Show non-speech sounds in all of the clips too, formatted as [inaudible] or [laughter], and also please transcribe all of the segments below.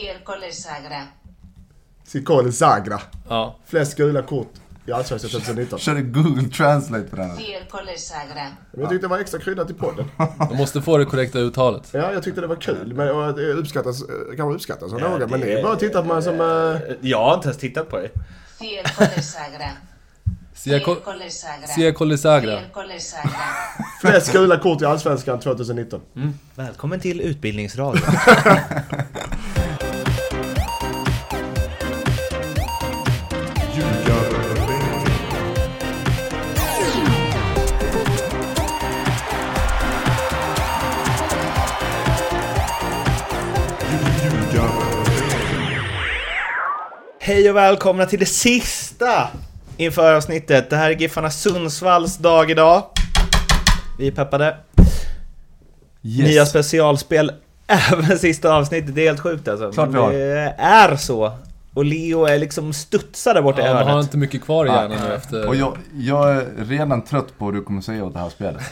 Circole Sagra. Sikole Zagra. Ja. Flest gula kort i Allsvenskan 2019. Körde Google Translate på den. här. Circole Sagra. Men jag tyckte det var extra kryddat i podden. De måste få det korrekta uttalet. Ja, jag tyckte det var kul. Men, och det uppskattas, eh, kanske uppskattas av några, men det är bara att titta på mig som... eh, Jag har inte ens tittat på det. Circole Sagra. Sia Circole Sagra. Colisagra. Circole Sagra. Flest gula kort i Allsvenskan 2019. Välkommen till Utbildningsradion. [laughs] Hej och välkomna till det sista inför avsnittet. Det här är Giffarna Sundsvalls dag idag. Vi är peppade. Yes. Nya specialspel [laughs] även sista avsnittet. Det är helt sjukt alltså. Klart vi har. Det är så. Och Leo är liksom studsar där borta i Ja, de har hörnet. inte mycket kvar i hjärnan nu efter... Och jag, jag är redan trött på vad du kommer säga åt det här [laughs] spelet.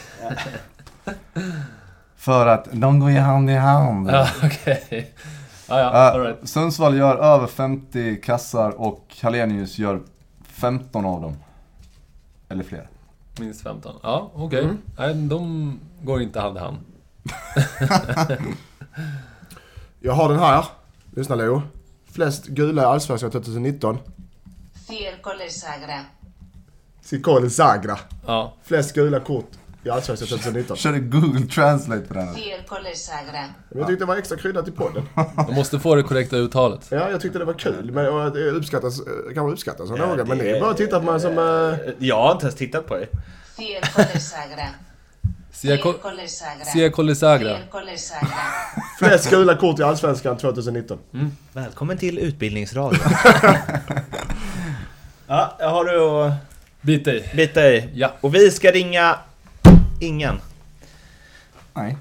För att de går ju hand i hand. Ja, [laughs] okej. Ja, ja, Eh, alright. Sundsvall gör över 50 kassar och Hallenius gör 15 av dem. Eller fler. Minst 15. Ja, okej. Nej, de går inte hand i hand. Jag har den här. Lyssna Leo. Flest gula i Allsvenskan 2019. Circole Sagra. Sikole Zagra. Ja. Flest gula kort i Allsvenskan 2019. Körde Google Translate på den. här. Circole Sagra. Men jag tyckte det var extra kryddat i [laughs] podden. De måste få det korrekta uttalet. Ja, jag tyckte det var kul. Men, och det uppskattas, eh, kanske uppskattas av några, men det är bara att titta på mig som... eh, Jag har inte ens tittat på det. Circole Sagra. Sia Circole Sagra. Colisagra. Circole Sagra. Flest gula kort i Allsvenskan 2019. Välkommen till Utbildningsradion. ja, jag har du att Bit dig. bita i. Ja. Och vi ska ringa ingen. [laughs] Nej.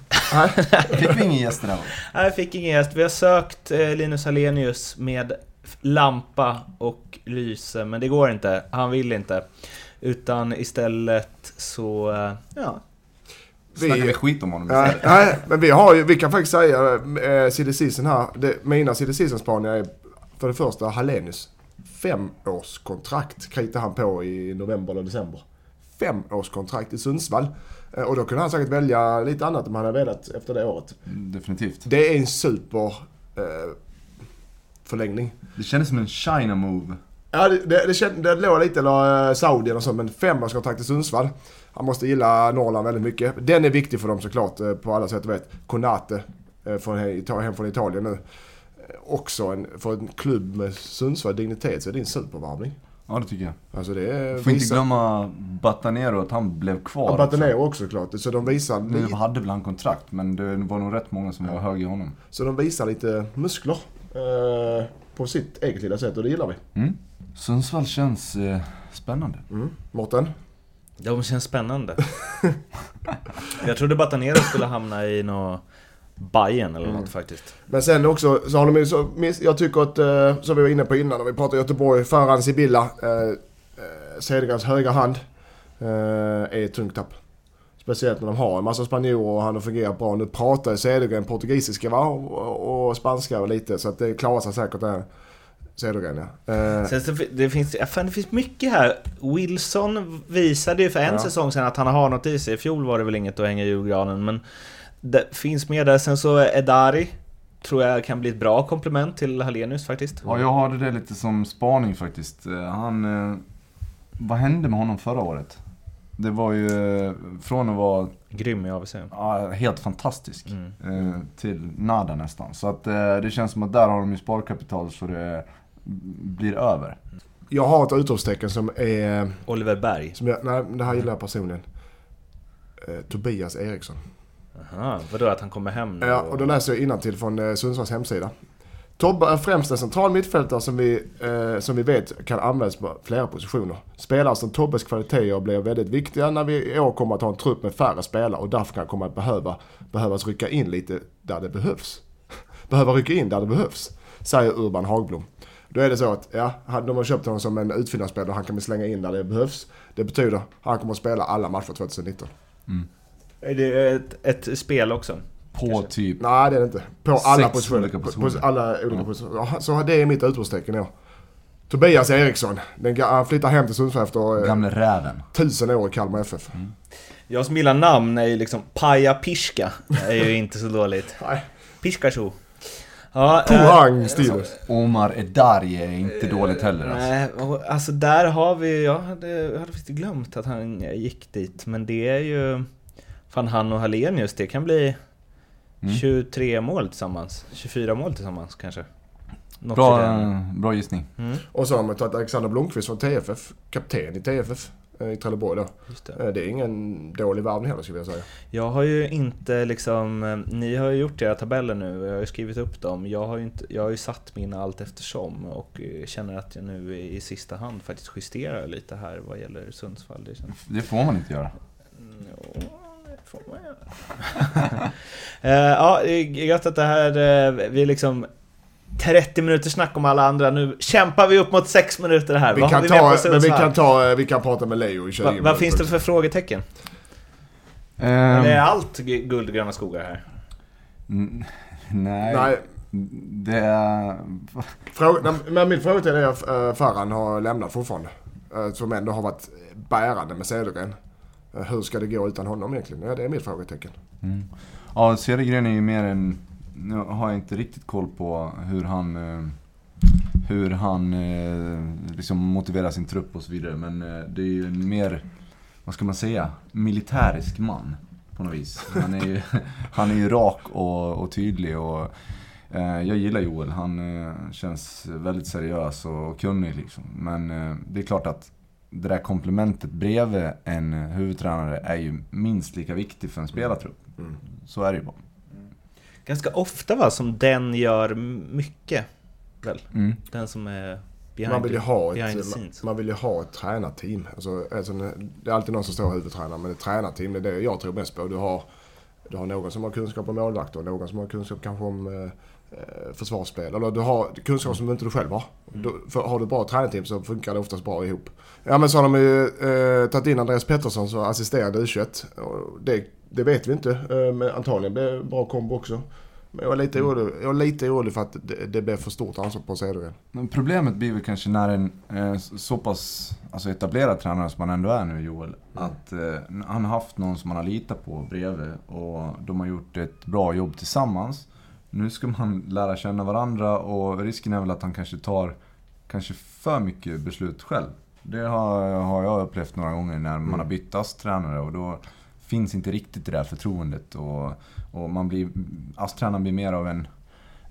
Fick vi ingen gäst där? Nej, jag fick ingen gäst. Vi har sökt eh, Linus Alenius med f- lampa och lyse, men det går inte. Han vill inte. Utan istället så... eh, Ja. Snackar vi skit om honom Ja, istället? nej, men vi har ju, vi kan faktiskt säga eh, CD Season här. Det, mina CD Season spaningar är för det första Hallenius. Femårskontrakt kritade han på i november eller december. Femårskontrakt i Sundsvall. Eh, och då kunde han säkert välja lite annat om han hade velat efter det året. Definitivt. Det är en super eh, förlängning. Det kändes som en China move. Ja, det, det, det, känd, det låg lite, eller eh, Saudien och så, men femårskontrakt i Sundsvall. Han måste gilla Norrland väldigt mycket. Den är viktig för dem såklart eh, på alla sätt och vet. Konate, eh, från, he- Ita- hem från Italien nu. Eh, Också en, för en klubb med Sundsvall dignitet så är det en supervarvning. Ja, det tycker jag. Alltså det är... Får inte glömma liksom. Batanero att han blev kvar. Ja, Batanero också såklart. Så de visar, också. Nu hade väl han kontrakt, men det var nog rätt många som var hög i honom. så de visar lite muskler. Eh, på sitt eget lilla sätt och det gillar vi. Mm. Sundsvall känns eh, spännande. Mårten? De känns spännande. [laughs] jag trodde Batanero skulle hamna i något Bayern eller Mm. något faktiskt. Men sen också så har de ju så, miss- jag tycker att, eh, som vi var inne på innan, om vi pratar Göteborg, Farhan Sibilla, eh, eh, Cedergrens högra hand, eh, är ett tungt tapp. Speciellt när de har en massa spanjorer och han har fungerat bra. Nu pratar ju Cedergren portugisiska va? Och, och, och spanska och lite, så att det klarar sig säkert där. Cedergren ja. Eh, Sen så, fi- det, finns, ja, fan, det finns mycket här. Wilson visade ju för en Ja. säsong sedan att han har något i sig. I fjol var det väl inget att hänga i julgranen, men det finns med där. Sen så Edari tror jag kan bli ett bra komplement till Hallenius faktiskt. Ja, jag hade det lite som spaning faktiskt. Eh, Han... Eh, vad hände med honom förra året? Det var ju eh, från att vara Grym i AVC. ja, helt fantastisk Mm. eh, till nada nästan. Så att eh, det känns som att där har de ju sparkapital så det blir över. jag har ett utropstecken som är, Oliver Berg. som jag, nej men det här gillar jag personligen. Eh, Tobias Eriksson. Aha, vadå att han kommer hem nu? Ja, och då läser jag innantill från eh, Sundsvalls hemsida. Tobbe är främst en central mittfältare som vi, eh, som vi vet kan användas på flera positioner. Spelare som Tobbes kvaliteter blir väldigt viktiga när vi i år kommer att ha en trupp med färre spelare och därför kan komma att behöva, behövas rycka in lite där det behövs. [laughs] Behöva rycka in där det behövs, säger Urban Hagblom. Då är det så att, ja, han- de har köpt honom som en utfyllnadsspelare, han kan vi slänga in där det behövs. Det betyder, att han kommer att spela alla matcher 2019. Är det ett, ett spel också? På typ... Nej det är det inte. På alla Sex positioner. olika På- positioner. På alla olika Ja. positioner. Jaha, Så det är mitt utropstecken ja. Tobias Eriksson. Den, ga- han flyttar hem till Sundsvall efter eh, Gamle räven. tusen år i Kalmar FF. Mm. Jag som gillar namn är ju liksom Paja Pirska. Det är ju inte så dåligt. Nej. Pirskacho. Ja, eh, Pohang Steelers. Alltså, Omar Edarie är inte dåligt heller alltså. Nej, och alltså där har vi, jag hade, jag hade faktiskt glömt att han eh, gick dit, men det är ju... Fan, han och Hallenius, det kan bli Mm. 23 mål tillsammans. 24 mål tillsammans kanske. Något i Bra, den. eh, bra gissning. Mm, Och så har man tagit Alexander Blomqvist från TFF. Kapten i TFF. eh, I Trelleborg då. just det. Eh, Det är ingen dålig värvning heller skulle jag säga. Jag har ju inte liksom, eh, ni har ju gjort era tabeller nu, jag har ju skrivit upp dem. Jag har ju, inte, jag har ju satt mina allt eftersom och eh, känner att jag nu i, i sista hand faktiskt justerar lite här vad gäller Sundsvall. Det känns... Mm, Det får man inte göra. Ja, det får man göra. [laughs] Eh, ja, det är gött att det här, eh, vi är liksom 30 minuter snack om alla andra, nu kämpar vi upp mot 6 minuter här. Vi vad har kan, vi med ta, på men vi, Sundsvall? kan ta, eh, vi kan prata med Leo i 20 Va, minuter. vad finns det för frågetecken? Ehm, Eller är allt gu- guld och gröna skogar här? n- nej. Nej, Det är... Fråga, nej, men min fråga till dig är eh, Farhan har lämnat fortfarande. Eh, Som ändå har varit bärande med Cedergren. Eh, Hur ska det gå utan honom egentligen? Ja, det är mitt frågetecken. Mm. Ja, Cedergren är ju mer en... Nu har jag inte riktigt koll på hur han... eh, Hur han eh, liksom motiverar sin trupp och så vidare. Men eh, det är ju en mer, vad ska man säga, militärisk man. På något vis. Han är ju, [laughs] han är ju rak och, och tydlig. Och, eh, jag gillar Joel. Han eh, känns väldigt seriös och, och kunnig. Liksom. Men eh, det är klart att det där komplementet bredvid en huvudtränare är ju minst lika viktigt för en spelartrupp. Mm. Så är det ju bara. Ganska ofta va, som den gör mycket. Väl? Den som är behind, Man vill ju ha ett, behind the man, scenes. man vill ju ha ett tränarteam. Alltså, alltså, det är alltid någon som står huvudtränare, men ett tränarteam det är det jag tror mest på. Du har, du har någon som har kunskap om målvakter, och någon som har kunskap kanske om eh, eh, försvarsspel. Eller du har kunskap som inte du själv har. Mm. Du, för, har du ett bra tränarteam så funkar det oftast bra ihop. Ja men så har de ju eh, tagit in Andreas Pettersson som assisterande U21. Och Det, det vet vi inte, eh, men antagligen blir det en bra kombo också. Men jag är lite Mm. orolig, jag är lite orolig för att det, det blir för stort ansvar på Cedergren. Men problemet blir väl kanske när en eh, så pass alltså etablerad tränare som han ändå är nu, Joel, att eh, han har haft någon som han har litat på bredvid och de har gjort ett bra jobb tillsammans. Nu ska man lära känna varandra och risken är väl att han kanske tar kanske för mycket beslut själv. Det har, har jag upplevt några gånger när man har bytt ASS-tränare och då finns inte riktigt det där förtroendet. Och, och man blir, ASS-tränaren blir mer av en,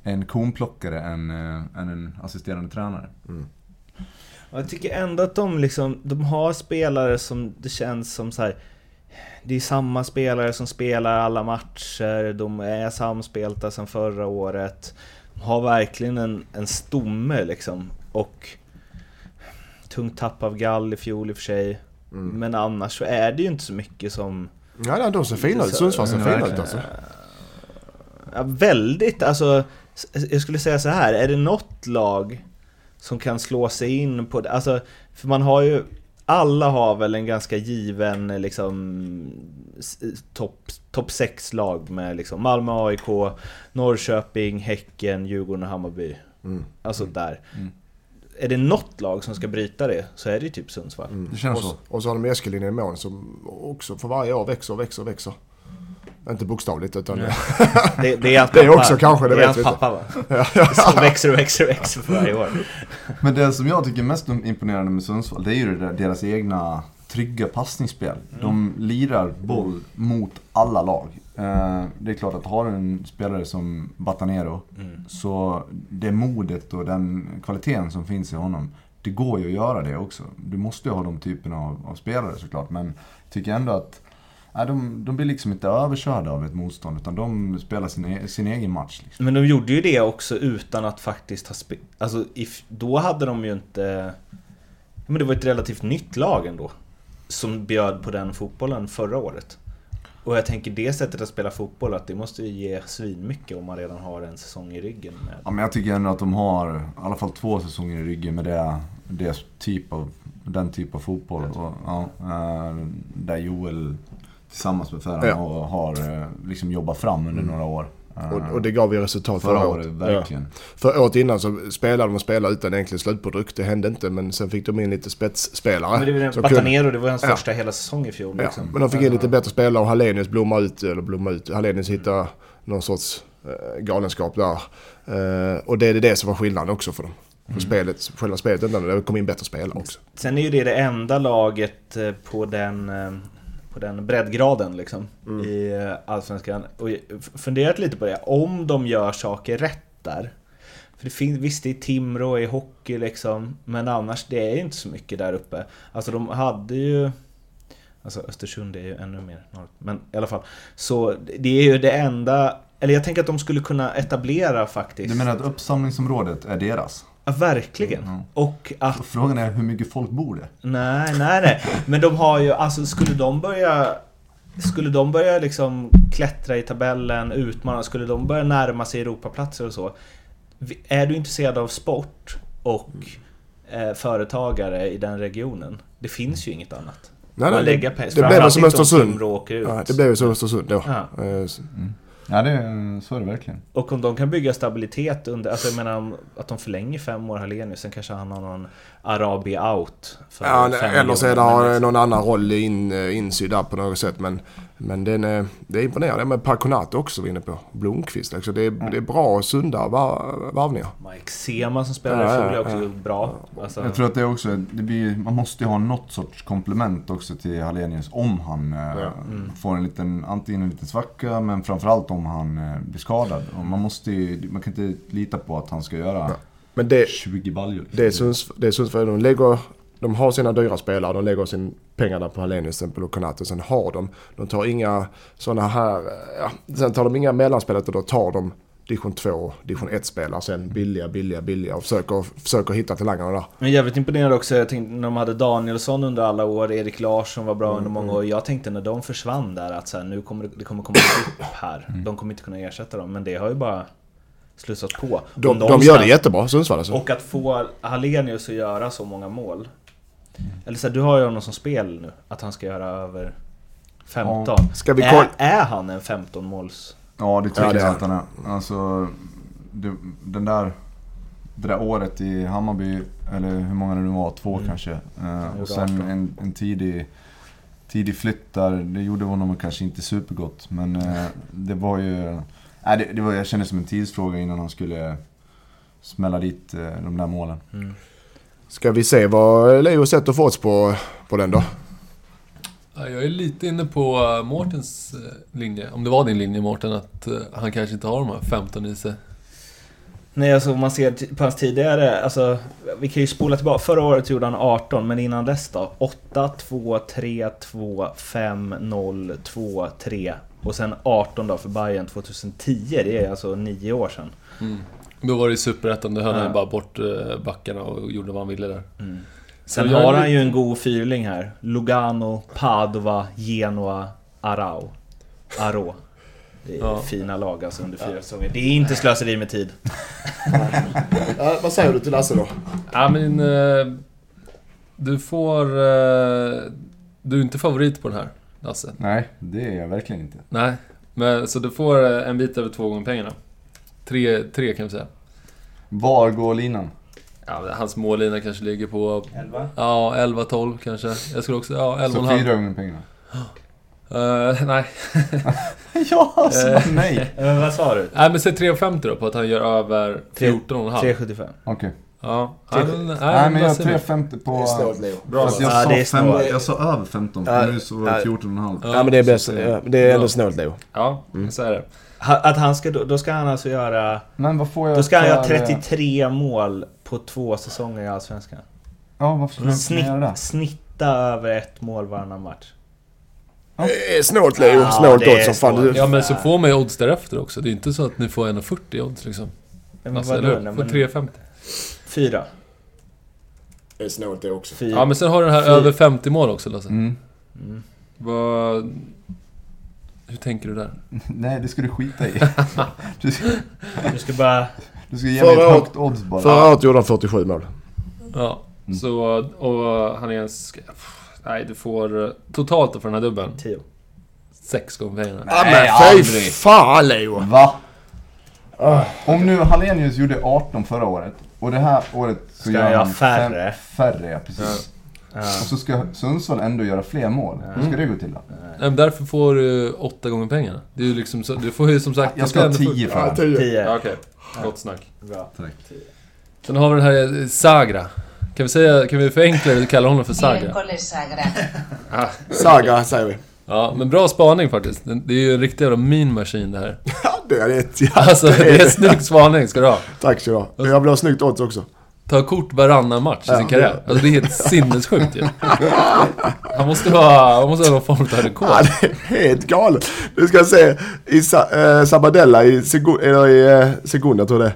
en konplockare än, eh, än en assisterande tränare. Och Jag tycker ändå att de liksom, de har spelare som det känns som så här. Det är samma spelare som spelar alla matcher, de är samspelta sedan förra året. De har verkligen en, en stomme liksom. Och tungt tapp av gall i fjol i och för sig. Mm. Men annars så är det ju inte så mycket som... Ja, nej, de ser fina ut. Så- Sundsvall ser Ja, fina ut verkligen. alltså. Ja, väldigt, alltså. s- Jag skulle säga så här, är det något lag som kan slå sig in på det? Alltså, för man har ju... Alla har väl en ganska given liksom s- topp top 6 lag med liksom Malmö, AIK, Norrköping, Häcken, Djurgården och Hammarby. Mm. Alltså där. Är det något lag som ska bryta det så är det ju [laughs] typ Sundsvall. Det känns Mm. Och, så. så- och så har de Eskelin i mål som också för varje år växer och växer och växer. Inte bokstavligt utan... Det, det är hans Det pappa. är också kanske, det det vet är hans vi inte. pappa [laughs] va? Som växer och växer och växer för varje år. Men det som jag tycker är mest imponerande med Sundsvall, det är ju det där, deras egna trygga passningsspel. De lirar boll mot alla lag. Eh, Det är klart att har du en spelare som Batanero, så det modet och den kvaliteten som finns i honom, det går ju att göra det också. Du måste ju ha de typerna av, av spelare såklart, men jag tycker ändå att nej, de, de blir liksom inte överkörda av ett motstånd, utan de spelar sin, e- sin egen match. Liksom. Men de gjorde ju det också utan att faktiskt ha spelat... Alltså, if, då hade de ju inte... Men det var ett relativt nytt lag ändå. Som bjöd på den fotbollen förra året. Och jag tänker det sättet att spela fotboll, att det måste ju ge svinmycket om man redan har en säsong i ryggen. Med. Ja, men jag tycker ändå att de har i alla fall två säsonger i ryggen med det, det typ av, den typ av fotboll. Och, ja, eh, där Joel tillsammans med Ferran Ja. och har eh, liksom jobbat fram under några år. Eh, Och, och det gav ju resultat förra året, Ja. verkligen. För året innan så spelade de och spelade utan egentlig slutprodukt. Det hände inte, men sen fick de in lite spetsspelare. Men det var som ju kunde- Batanero, det var hans Ja. första hela säsong i fjol. Ja, Liksom. men de fick in lite bättre spelare och Hallenius blommade ut, eller blommade ut, Hallenius hittade någon sorts eh, galenskap där. Eh, och det är det som var skillnaden också för dem. För Mm. spelet, själva spelet, utan det kom in bättre spelare också. Sen är ju det det enda laget eh, på den, eh, på den breddgraden liksom, i eh, Allsvenskan. Och jag f- funderat lite på det, om de gör saker rätt där. För det finns, visst, det är Timrå i hockey liksom, men annars det är ju inte så mycket där uppe. Alltså de hade ju... Alltså Östersund är ju ännu mer norrut, men i alla fall. Så det är ju det enda... Eller jag tänker att de skulle kunna etablera faktiskt. Du menar Mm, att uppsamlingsområdet är deras? Ja, verkligen. Och att Och Frågan är hur mycket folk bor där? Nej, nej, nej. Men de har ju, alltså skulle de börja... Skulle de börja liksom klättra i tabellen, utmana, skulle de börja närma sig Europaplatser och så? vi- Är du intresserad av sport och eh, företagare i den regionen? Det finns ju inget annat. Nej, Att nej, lägga det, pengar- det blev väl framförallt som inte om Östersund. Timrå åker ut. Ja, det blev ju som Östersund då. Ja. Eh, så- Ja, det, är- så är det verkligen. Och om de kan bygga stabilitet under, alltså jag menar om- att de förlänger fem år Hallenius, sen kanske han har någon Arabi out. För Ja, fem eller så är det miljoner, men har någon annan roll in, eh, insydd där på något sätt. Men, men den är, det är imponerande. Men Parkonato också var inne på. Blomqvist. Alltså det, är, det är bra och sunda var- varvningar. Mike Sema som spelar Ja, i ja, fjol är också ja. bra. Alltså, Jag tror att det är också, det blir, man måste ju ha något sorts komplement också till Hallenius om han eh, Ja. får en liten, antingen en liten svacka men framförallt om han eh, blir skadad. Och man, måste ju, man kan inte lita på att han ska göra Men det, 20 baljor. Det är Sunds- det är Sundsvall. De, lägger, de har sina dyra spelare. De lägger sin pengarna på Hallenius till exempel och Konate. Sen har de. De tar inga sådana här... Ja, sen tar de inga mellanspelare utan då tar de division 2, division 1-spelare. Sen billiga, billiga, billiga och försöker, försöker hitta talangerna där. Men jävligt imponerad också, jag tänkte när de hade Danielsson under alla år, Erik Larsson var bra Mm, under många år. Jag tänkte när de försvann där att så här, nu kommer det, det kommer komma upp här. Mm. De kommer inte kunna ersätta dem, men det har ju bara slussat på. De, de, Om någonstans- gör det jättebra, Sundsvall alltså. Och att få Hallenius att göra så många mål. Mm. Eller så här, du har ju honom som spel nu, att han ska göra över 15. Ska vi är, kolla- är han en 15-måls... Ja, det tycker Ja, det är jag att han är. Alltså, det, den där, det där året i Hammarby, eller hur många det nu var, två Mm. kanske. Eh, gjorde och sen 18. en, en tidig, tidig flytt där, det gjorde honom kanske inte supergott. Men eh, det var ju... Nej, det, det var, jag kände som en tidsfråga innan han skulle smälla dit eh, de där målen. Ska vi se vad Leo sätter för odds på, på den då? Ja, Jag är lite inne på eh, Mårtens eh, linje, om det var din linje Mårten, att eh, han kanske inte har de här 15 i sig. Nej, alltså om man ser t- på hans tidigare, alltså vi kan ju spola tillbaka. Förra året gjorde han 18, men innan dess då? 8, 2, 3, 2, 5, 0, 2, 3. Och sen 18 då för Bayern 2010, det är alltså nio år sedan. Då var det i Superettan, då höll Ja. han bara bort eh, backarna och gjorde vad han ville där. Sen Så jag har är han lite- ju en god fyrling här. Lugano, Padova, Genoa, Arau. Arå. Det är Ja. fina lag alltså under fyra säsonger. Det är inte slöseri med tid. vad säger du till Lasse då? Ja, men... eh, Du får... eh, Du är inte favorit på den här, Lasse. Nej, det är jag verkligen inte. Nej, men, så du får eh, en bit över två gånger pengarna. Tre, tre kan vi säga. Var går linan? Ja, men hans mållina kanske ligger på... Elva. Ja, 11-12 kanske. Jag skulle också... Ja, 11,5. Så fyra gånger pengarna. Eh, nej. [laughs] ja, alltså, Eh. nej! Men vad sa du? nej, men säg 3,50 då på att han gör över Tre- 14,5. 3,75. Okej. Ja. Tre- Nej, men- nej, Nej, men jag Lasse är med. 3.50 på... Leo. Bra, Fast jag, Ja, sa det är fem, snålt. jag sa över 15, Ja, nu så var det ja. 14,5. Ja men det är bäst. Så- Ja, det är ändå Bra. snålt Leo. Ja, Mm. så är det. Ha- Att han ska, då då ska han alltså göra... Men vad får jag Då ska han göra för- eh, 33 mål på två säsonger i Allsvenskan. Ja, varför skulle han kunna göra det? Snitt, snitta över ett mål varannan match. Eh, Snålt Leo. Ja, snålt det är odds som fan. snålt. Du- Ja, men så får man ju odds därefter också. Det är inte så att ni får 1,40 i odds liksom. Men Alltså, vadå? eller Nej, hur? men Får 3,50. Fyra. Det är snålt det också. Fyra. Ja, men sen har du den här Fy- över 50 mål också Lasse. Mm. Vad... Hur tänker du där? Nej, det ska du skita i. Du ska, Du ska bara... du ska ge Förra mig ett året- högt odds bara. Förra året gjorde han 47 mål. Ja, Mm. så... Och han är en... sk- Nej, du får... eh, Totalt då för den här dubben. Tio. sex gånger Ja, Nej, men fy aldrig. fan Leo! Va? Om nu Hallenius gjorde 18 förra året och det här året så Ska gör jag han fem- färre? färre ja, precis. Och så ska Sundsvall ändå göra fler mål. Hur ska det gå till då? Nej, men därför får du åtta gånger pengarna. Det är ju liksom så, du får ju som sagt... Jag ska ha ändå få- 10 för Ja, det. tio. Ja, 10. Okej, gott snack. Bra. Sen har vi den här eh, Sagra. Kan vi, säga, kan vi förenkla det och kalla honom för Sagra? Miércoles sagrado. Saga säger vi. Ja, men bra spaning faktiskt. Den- Det är ju en riktig jävla mean machine det [laughs] här. [laughs] Ja, det är ett jävla... Alltså, det är en snygg spaning ska du ha. Tack så du ha. Jag vill ha snyggt odds också. Ta kort varannan match i sin karriär. Alltså det är helt sinnessjukt ju. Han måste ha, han måste ha någon form av rekord. Ja, det är helt galet. Du ska se i Sa- eh, Sabadella i, Segu- eller i eh, Segunda tror jag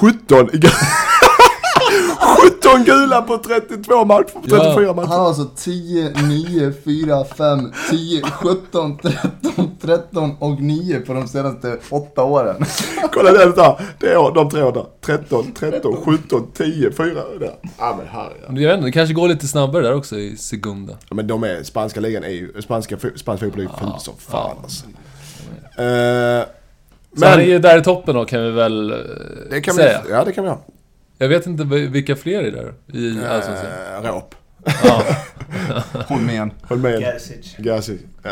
det är. 17 i [laughs] gu- 17 gula på 32 matcher, på 34 Ja, matcher. Han har alltså 10, 9, 4, 5, 10, 17, 13, 13 och 9 på de senaste 8 åren. Kolla den där. Det är de tre där. 13, 13, 17, 10, 4. Där. Ja men herregud. Jag vet inte, det kanske går lite snabbare där också i Segunda. Ja, men de är, spanska ligan är ju, spanska, fo- spansk fotboll är ju ful som fan alltså. Eh, Så han är men, Mm. ju där i toppen då kan vi väl eh, det kan vi, säga. ja det kan vi ha. Jag vet inte vi- vilka fler är där i Allsvenskan. Eh, Råp. Ja. Holmén, Håll med. Gerzic. Gazi. Ja.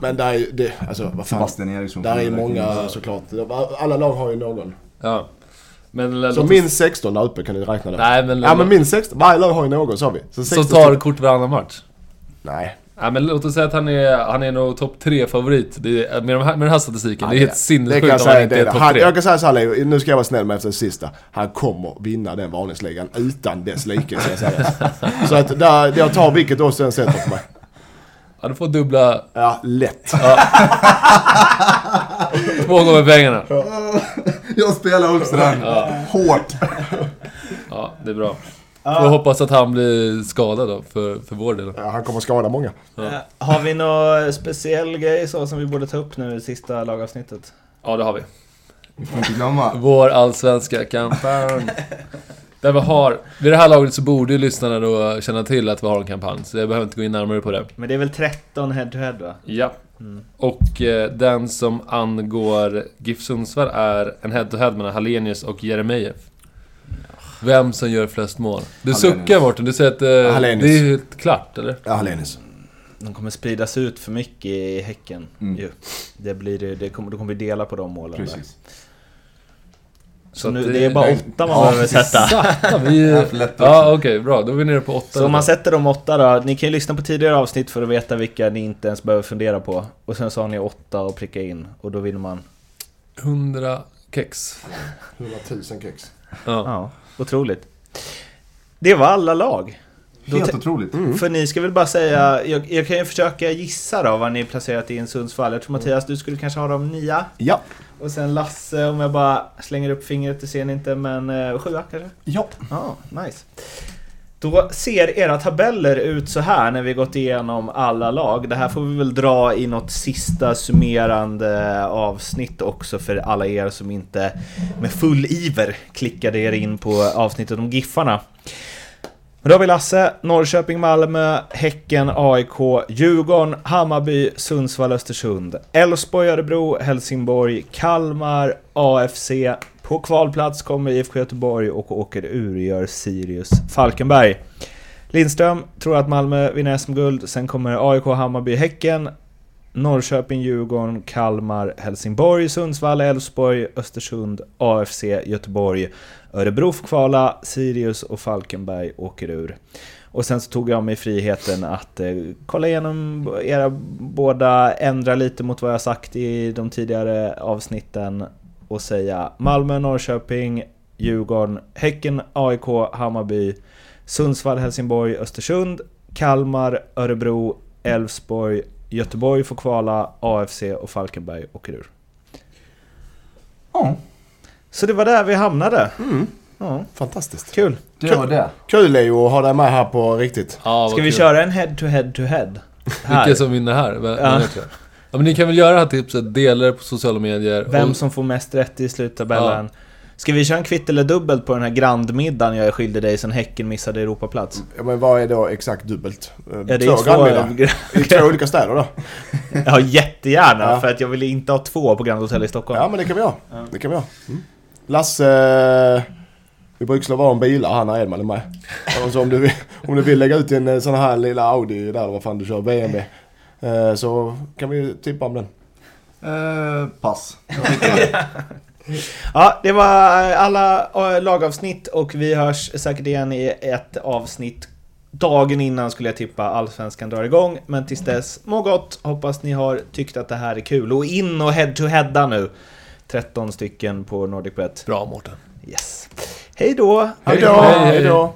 Men där är ju, det, alltså vad fan. Sebastian Eriksson. Där är ju många såklart. Alla lag har ju någon. ja. Men eh, låt Så oss- minst 16 där uppe kan ni räkna det. Nej men... Ja men minst 16. Varje lag har ju någon sa vi. Så som 16 tar kort varannan match. Nej. Ja, men låt oss säga att han är, han är nog topp 3-favorit eh, med, de här- med den här statistiken. det är helt Det kan sinnessjukt jag om han säga. inte Det, är är det. topp han, 3. jag kan säga så här Leo, nu ska jag vara snäll med efter den sista. Han kommer vinna den varningsligan utan dess like ska jag säga. Så att där, jag tar vilket odds den sätter på mig. Ja, du får dubbla Ja, lätt. två gånger pengarna. Jag spelar också den. Hårt. Ja, det är bra. Får hoppas att han blir skadad då, för, för vår del. Ja, han kommer skada många. Eh, Har vi någon speciell grej så som vi borde ta upp nu i sista lagavsnittet? Ja, det har vi. Får inte glömma. Vår allsvenska kampanj. Där vi har, vid det här laget så borde ju lyssnarna då känna till att vi har en kampanj, så jag behöver inte gå in närmare på det. Men det är väl 13 head to head va? Ja. Och eh, den som angår GIF Sundsvall är en head-to-head mellan Hallenius och Jeremejeff. Vem som gör flest mål? Du Hallenius. suckar Mårten, du säger att eh, Hallenius. det är helt klart, eller? Ja, Hallenius. De kommer spridas ut för mycket i Häcken Mm. ju. Det blir, det- det kommer, då kommer vi dela på de målen där. Precis. Så, att nu, det är bara åtta man behöver sätta. Sakta, vi... Ja, för lätt Ja, okej, bra. Då är vi nere på åtta. Så om man sätter de åtta då, ni kan ju lyssna på tidigare avsnitt för att veta vilka ni inte ens behöver fundera på. Och sen så har ni åtta och pricka in och då vinner man. 100 kex. 100 000 kex. Ja. Ja, otroligt. Det var alla lag. Då Helt te- otroligt. Mm. För ni ska väl bara säga, jag, jag kan ju försöka gissa då vad ni placerat in Sundsvall. Jag tror Mattias, du skulle kanske ha dem nia. Ja. Och sen Lasse, om jag bara slänger upp fingret, det ser ni inte, men eh, sjua kanske? Ja. Ja, nice. Då ser era tabeller ut så här när vi gått igenom alla lag. Det här får vi väl dra i något sista summerande avsnitt också för alla er som inte med full iver klickade er in på avsnittet om Giffarna. Men Då har vi Lasse, Norrköping, Malmö, Häcken, AIK, Djurgården, Hammarby, Sundsvall, Östersund, Elfsborg, Örebro, Helsingborg, Kalmar, AFC. På kvalplats kommer IFK Göteborg och åker ur gör Sirius Falkenberg. Lindström tror att Malmö vinner SM-guld, sen kommer AIK, Hammarby, Häcken, Norrköping, Djurgården, Kalmar, Helsingborg, Sundsvall, Elfsborg, Östersund, AFC, Göteborg, Örebro får kvala, Sirius och Falkenberg åker ur. Och sen så tog jag mig friheten att eh, kolla igenom era båda, ändra lite mot vad jag sagt i de tidigare avsnitten och säga Malmö, Norrköping, Djurgården, Häcken, AIK, Hammarby, Sundsvall, Helsingborg, Östersund, Kalmar, Örebro, Elfsborg, Göteborg får kvala, AFC och Falkenberg åker ur. Ja, Så det var där vi hamnade. Ja, Fantastiskt. kul. det var det. Kul Leo att ha dig med här på riktigt. Ja, vad Ska vi kul. köra en head to head [laughs] to head? Vilka Här. som vinner här? Vem, Ja. ja. ja, men ni kan väl göra det här tipset, dela det på sociala medier. Vem och, som får mest rätt i sluttabellen. Ska vi köra en kvitt eller dubbelt på den här grandmiddagen jag är skyldig dig sen Häcken missade Europaplats? Ja, men vad är då exakt dubbelt? Eh, Ja, det är Mm. två två- grannmiddagar? I två olika städer då? [laughs] Ja, jättegärna! Ja. För att jag vill inte ha två på Grand Hotel i Stockholm. Ja men det kan vi ha. Det kan vi ha. Mm. Lasse... eh, Vi brukar slå vad om bilar, han och Edman är med. Och så om, du vill, om du vill lägga ut en eh, sån här lilla Audi där, eller vad fan du kör, BMW. eh, Så kan vi ju tippa om den. Eh, pass. Ja, det var alla eh, lagavsnitt och vi hörs säkert igen i ett avsnitt Dagen innan skulle jag tippa Allsvenskan drar igång, men tills dess, må gott! Hoppas ni har tyckt att det här är kul. Och in och head-to-heada nu! 13 stycken på NordicBet. Bra Mårten. Yes. Hej då! Hej då! Hej, hej. Hej då!